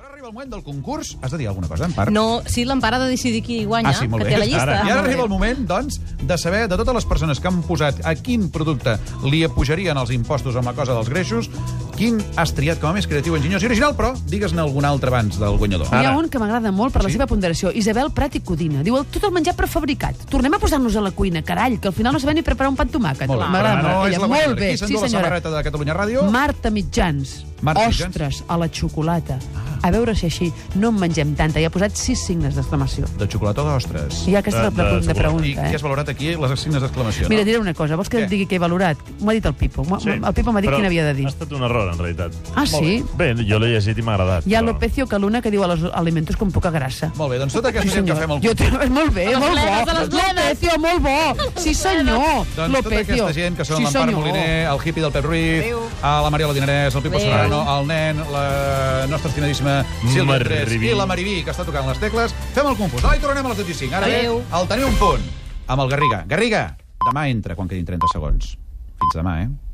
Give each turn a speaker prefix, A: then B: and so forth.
A: arriba el moment del concurs. Has de dir alguna cosa, en part?
B: No, sí, l'Empara ha de decidir qui guanya,
A: Ah, sí, molt
B: que
A: bé.
B: té la llista.
A: Ara, I
B: Molt
A: ara
B: bé.
A: arriba el moment, doncs, de saber de totes les persones que han posat a quin producte li apujarien els impostos amb la cosa dels greixos, quin has triat com a més creatiu, enginyós i original, però digues-ne algun altre abans del guanyador.
C: Hi ha un que m'agrada molt per la seva ponderació. Isabel Prat i Codina. Diu, tot el menjar prefabricat. Tornem a posar-nos a la cuina, carall, que al final no sabem ni preparar un pa amb tomàquet.
A: Molt bé,
C: M'agrada
A: però no
C: molt.
A: és la
C: Ella,
A: guanyadora.
C: molt bé,
A: Qui
C: sí
A: s'endú la
C: senyora.
A: samarreta de Catalunya Ràdio?
C: Marta Mitjans.
A: Marta Mitjans. Ah.
C: Ostres, a la xocolata. A veure si així no en mengem tanta. Hi ha posat sis signes d'exclamació.
A: De xocolata o d'ostres?
C: Hi ha aquesta
D: De-
C: de, de,
D: de
C: de
D: xocolata.
A: I
C: pregunta,
A: qui has
C: eh?
A: valorat aquí les signes d'exclamació?
C: Mira,
A: no?
C: et diré una cosa. Vols que
A: Què?
C: et digui què he valorat? M'ho ha dit el Pipo. M'ho- El Pipo m'ha dit
D: però
C: quin havia de dir.
D: Ha estat un error, en realitat.
C: Ah, sí?
D: Molt Bé, Bé, jo l'he llegit i m'ha agradat.
C: Hi ha
D: però-
C: Lopecio Caluna que diu a los alimentos con poca grasa.
A: Molt bé, doncs tota aquesta gent que fem el
C: Jo, te- molt bé,
B: les
C: molt
B: bledes, a
C: bo.
B: les bledes.
C: Lopecio, molt bo. Sí, senyor.
A: Doncs tota
C: Lopecio.
A: aquesta gent que són
C: sí,
A: l'Empar
C: senyor.
A: Moliner, el hippie del Pep Ruiz, a la Mariola Dinerès, el Pipo
B: Adéu.
A: Serrano, el nen, la nostra estimadíssima Sílvia Tres
D: Maribí.
A: i la Maribí, que està tocant les tecles. Fem el concurs. Ai, tornem a les 25. Ara bé,
B: Adéu.
A: el teniu un punt amb el Garriga. Garriga, demà entra quan quedin 30 segons. Fins demà, eh?